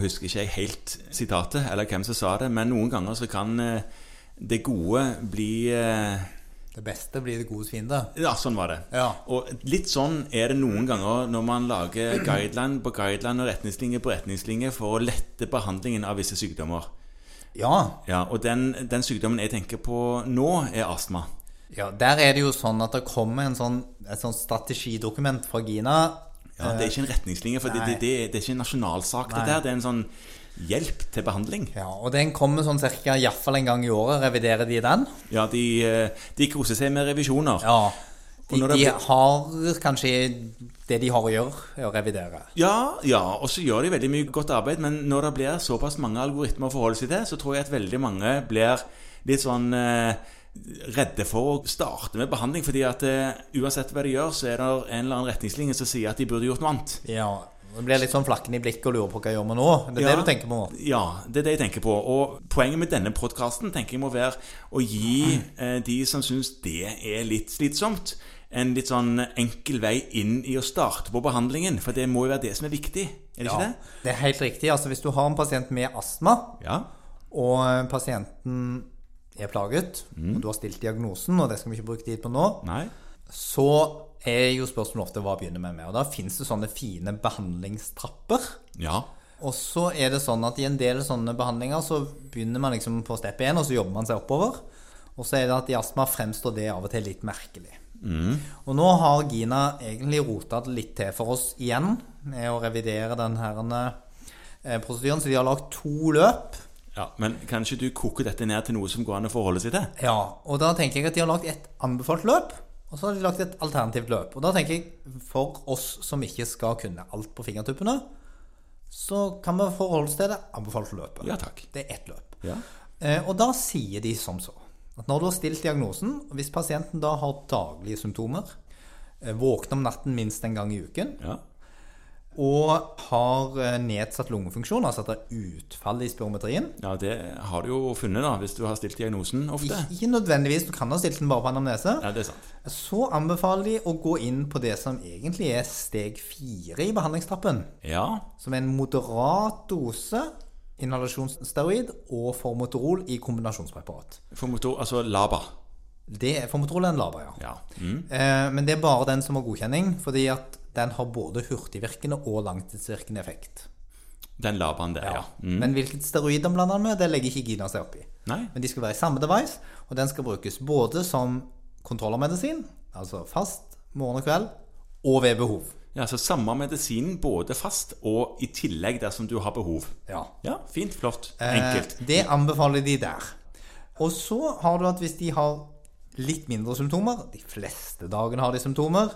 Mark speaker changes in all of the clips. Speaker 1: husker ikke jeg helt sitatet, eller hvem som sa det, men noen ganger så kan eh, det gode bli eh,
Speaker 2: Det beste blir det godes fiende.
Speaker 1: Ja, sånn var det.
Speaker 2: Ja.
Speaker 1: Og litt sånn er det noen ganger når man lager guideline på guideline og retningslinjer på retningslinjer for å lette behandlingen av visse sykdommer.
Speaker 2: Ja.
Speaker 1: Ja, Og den, den sykdommen jeg tenker på nå, er astma.
Speaker 2: ja. Der er det jo sånn at det kommer en sånn, et sånn strategidokument fra Gina.
Speaker 1: Ja, det er ikke en retningslinje, for det,
Speaker 2: Nei.
Speaker 1: det, det, det er ikke en nasjonalsak.
Speaker 2: Nei.
Speaker 1: Det der, det er en sånn hjelp til behandling.
Speaker 2: Eh, Ja, og den kommer sånn cirka i hvert fall en gang i året. Reviderer de den?
Speaker 1: Ja, de, eh, de koser seg med revisjoner.
Speaker 2: Ja.
Speaker 1: Og
Speaker 2: De,
Speaker 1: når det
Speaker 2: de
Speaker 1: blir-
Speaker 2: har kanskje Det de har å gjøre, er å revidere.
Speaker 1: Ja, ja, og så gjør de veldig mye godt arbeid, men når det blir såpass mange algoritmer å forholde seg til, så tror jeg at veldig mange blir litt sånn eh, redde for å starte med behandling, fordi at eh, uansett hva de gjør, så er det en eller annen retningslinje som sier at de burde gjort noe annet.
Speaker 2: Ja. Det blir litt sånn flakken i blikket og lurer på hva jeg gjør med nå. Det er
Speaker 1: Ja.
Speaker 2: det du tenker på nå?
Speaker 1: Ja, det er det jeg tenker på. Og poenget med denne podkasten tenker jeg må være å gi eh, de som syns det er litt slitsomt, en litt sånn enkel vei inn i å starte på behandlingen. For det må jo være det som er viktig, er det
Speaker 2: Ja,
Speaker 1: ikke det?
Speaker 2: det er helt riktig. Altså, hvis du har en pasient med astma,
Speaker 1: Ja.
Speaker 2: og pasienten er plaget,
Speaker 1: Mm.
Speaker 2: og du har stilt diagnosen, og det skal vi ikke bruke tid på nå,
Speaker 1: Nei.
Speaker 2: så er jo spørsmålet ofte hva begynner vi med. Og da fins det sånne fine behandlingstrapper.
Speaker 1: Ja.
Speaker 2: Og så er det sånn at i en del sånne behandlinger så begynner man liksom på step 1, og så jobber man seg oppover. Og så er det at i astma fremstår det av og til litt merkelig. Og nå har Gina egentlig rota det litt til for oss igjen med å revidere den her eh, prosedyren. Så de har lagd to løp.
Speaker 1: ja. Men kan ikke du koke dette ned til noe som går an å forholde seg til?
Speaker 2: Ja, og da tenker jeg at de har lagd et anbefalt løp, og så har de lagd et alternativt løp. Og da tenker jeg, for oss som ikke skal kunne alt på fingertuppene, så kan vi forholde oss til det anbefalte løpet.
Speaker 1: Ja takk.
Speaker 2: Det er ett løp.
Speaker 1: Ja.
Speaker 2: Eh, og da sier de som så at når du har stilt diagnosen, og hvis pasienten da har daglige symptomer, eh, våkner om natten minst en gang i uken,
Speaker 1: Ja.
Speaker 2: og har eh, nedsatt lungefunksjon, altså at det er utfall i spirometrien
Speaker 1: ja, det har du jo funnet, da, hvis du har stilt diagnosen ofte.
Speaker 2: Ik- Ikke nødvendigvis, du kan ha stilt den bare på anamnese.
Speaker 1: Ja, det er sant.
Speaker 2: Så anbefaler de å gå inn på det som egentlig er steg fire i behandlingstrappen,
Speaker 1: Ja.
Speaker 2: som er en moderat dose inhalasjonssteroid og formoterol i kombinasjonspreparat.
Speaker 1: For motor, altså LABA.
Speaker 2: Det er formoterol er en lava, ja.
Speaker 1: Ja. Mm.
Speaker 2: Eh, Men det er bare den som har godkjenning, fordi at den har både hurtigvirkende og langtidsvirkende effekt.
Speaker 1: Den LABA-en der, ja. Mm.
Speaker 2: Men hvilket steroid den blander den med, det legger ikke Gina seg opp i.
Speaker 1: Nei.
Speaker 2: Men de skal være i samme device, og den skal brukes både som kontrollermedisin, altså fast morgen og kveld, og ved behov.
Speaker 1: Ja, så Samme medisinen både fast og i tillegg dersom du har behov.
Speaker 2: Ja.
Speaker 1: Ja, Fint, flott, enkelt.
Speaker 2: Eh, Det anbefaler de der. Og så har du at hvis de har litt mindre symptomer De fleste dagene har de symptomer.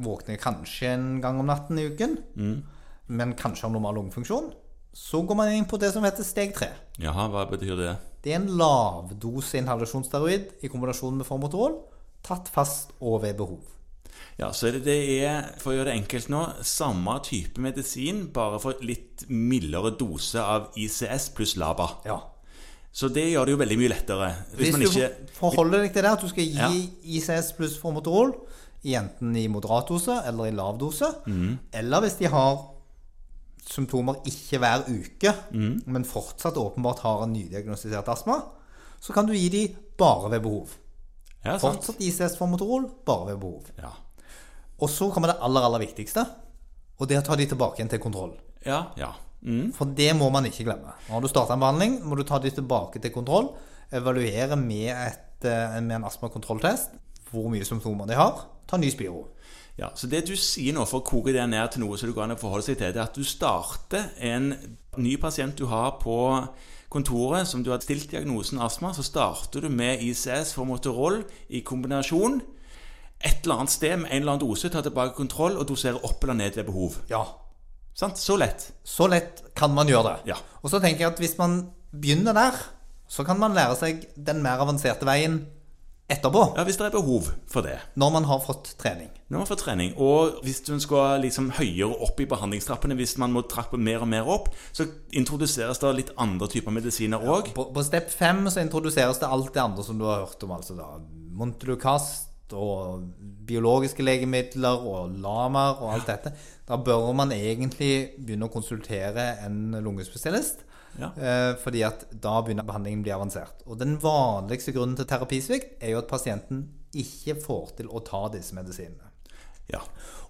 Speaker 2: Våkner kanskje en gang om natten i uken, men kanskje har normal lungefunksjon. Så går man inn på det som heter steg tre.
Speaker 1: Jaha, hva betyr det?
Speaker 2: Det er en lavdose inhalasjonssteroid i kombinasjon med formoterol tatt fast og ved behov.
Speaker 1: Ja, så det, det er, for å gjøre det enkelt nå, samme type medisin, bare for litt mildere dose av ICS pluss LABA.
Speaker 2: Ja.
Speaker 1: Så det gjør det jo veldig mye lettere. Hvis,
Speaker 2: Hvis
Speaker 1: man
Speaker 2: du
Speaker 1: ikke
Speaker 2: forholder deg til det, at du skal gi
Speaker 1: Ja.
Speaker 2: ICS pluss formoterol, enten i moderat dose eller i lav dose,
Speaker 1: Mhm.
Speaker 2: eller hvis de har symptomer ikke hver uke,
Speaker 1: Mhm.
Speaker 2: men fortsatt åpenbart har en nydiagnostisert astma, så kan du gi de bare ved behov.
Speaker 1: Ja, sant.
Speaker 2: Fortsatt ICS formoterol, bare ved behov.
Speaker 1: Ja.
Speaker 2: Og så kommer det aller, aller viktigste, og det er å ta de tilbake igjen til kontroll.
Speaker 1: Ja, ja. Mm.
Speaker 2: For det må man ikke glemme. Når du starter en behandling, må du ta de tilbake til kontroll. Evaluere med, et, eh, med en astmakontrolltest hvor mye symptomer de har. Ta ny spiro.
Speaker 1: ja. Så det du sier nå, for å koke det ned til noe som det går an å forholde seg til, det er at du starter en ny pasient du har på kontoret som du har stilt diagnosen astma, så starter du med ICS for Motorol i kombinasjon et eller annet sted med en eller annen dose, tar tilbake kontroll og doserer opp eller ned ved behov.
Speaker 2: Ja.
Speaker 1: Sant? Så lett.
Speaker 2: Så lett kan man gjøre det.
Speaker 1: Ja.
Speaker 2: Og så tenker jeg at hvis man begynner der, så kan man lære seg den mer avanserte veien etterpå.
Speaker 1: Ja, hvis det er behov for det.
Speaker 2: Når man har fått trening.
Speaker 1: Når man får trening, og hvis hun skal liksom høyere opp i behandlingstrappene, hvis man må trappe mer og mer opp, så introduseres det litt andre typer medisiner òg.
Speaker 2: På, på step 5 så introduseres det alt det andre som du har hørt om. Altså da Montelukast, og biologiske legemidler og lamaer og alt dette, da bør man egentlig begynne å konsultere en lungespesialist.
Speaker 1: Ja.
Speaker 2: Eh, fordi at da begynner behandlingen å bli avansert. Og den vanligste grunnen til terapisvikt er jo at pasienten ikke får til å ta disse medisinene.
Speaker 1: Ja.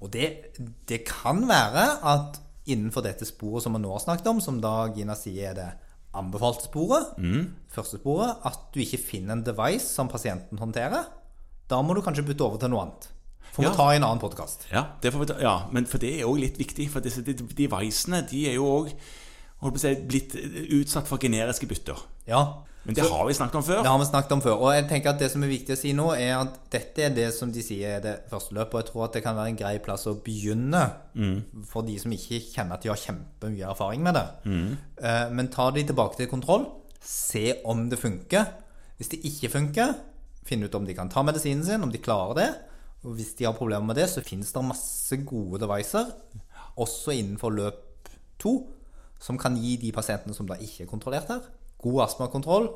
Speaker 2: Og det, det kan være at innenfor dette sporet som vi nå har snakket om, som da Gina sier er det anbefalte sporet,
Speaker 1: Mm.
Speaker 2: første sporet, at du ikke finner en device som pasienten håndterer. Da må du kanskje bytte over til noe annet. Får vi
Speaker 1: Ja.
Speaker 2: ta i en annen podkast.
Speaker 1: Ja, det får vi ta, ja, men for det er òg litt viktig. For disse de- devicene de er jo òg si, blitt utsatt for generiske bytter.
Speaker 2: Ja.
Speaker 1: Men det har vi snakket om
Speaker 2: Det
Speaker 1: før.
Speaker 2: har vi snakket om før. Og jeg tenker at det som er viktig å si nå, er at dette er det som de sier er det første løpet. Og jeg tror at det kan være en grei plass å begynne for de som ikke kjenner at de har kjempemye erfaring med det. Eh, Men ta de tilbake til kontroll. Se om det funker. Hvis det ikke funker, finn ut om de kan ta medisinen sin, om de klarer det. Og hvis de har problemer med det, så finnes det masse gode devicer, også innenfor løp to, som kan gi de pasientene som da ikke er kontrollert her, god astmakontroll,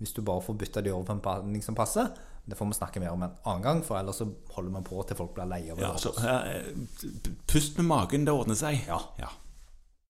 Speaker 2: hvis du bare får bytta de over på en behandling som passer. Det får vi snakke mer om en annen gang, for ellers så holder man på til folk blir lei av det.
Speaker 1: Ja, så, eh, pust med magen, det ordner seg.
Speaker 2: Ja.
Speaker 1: ja.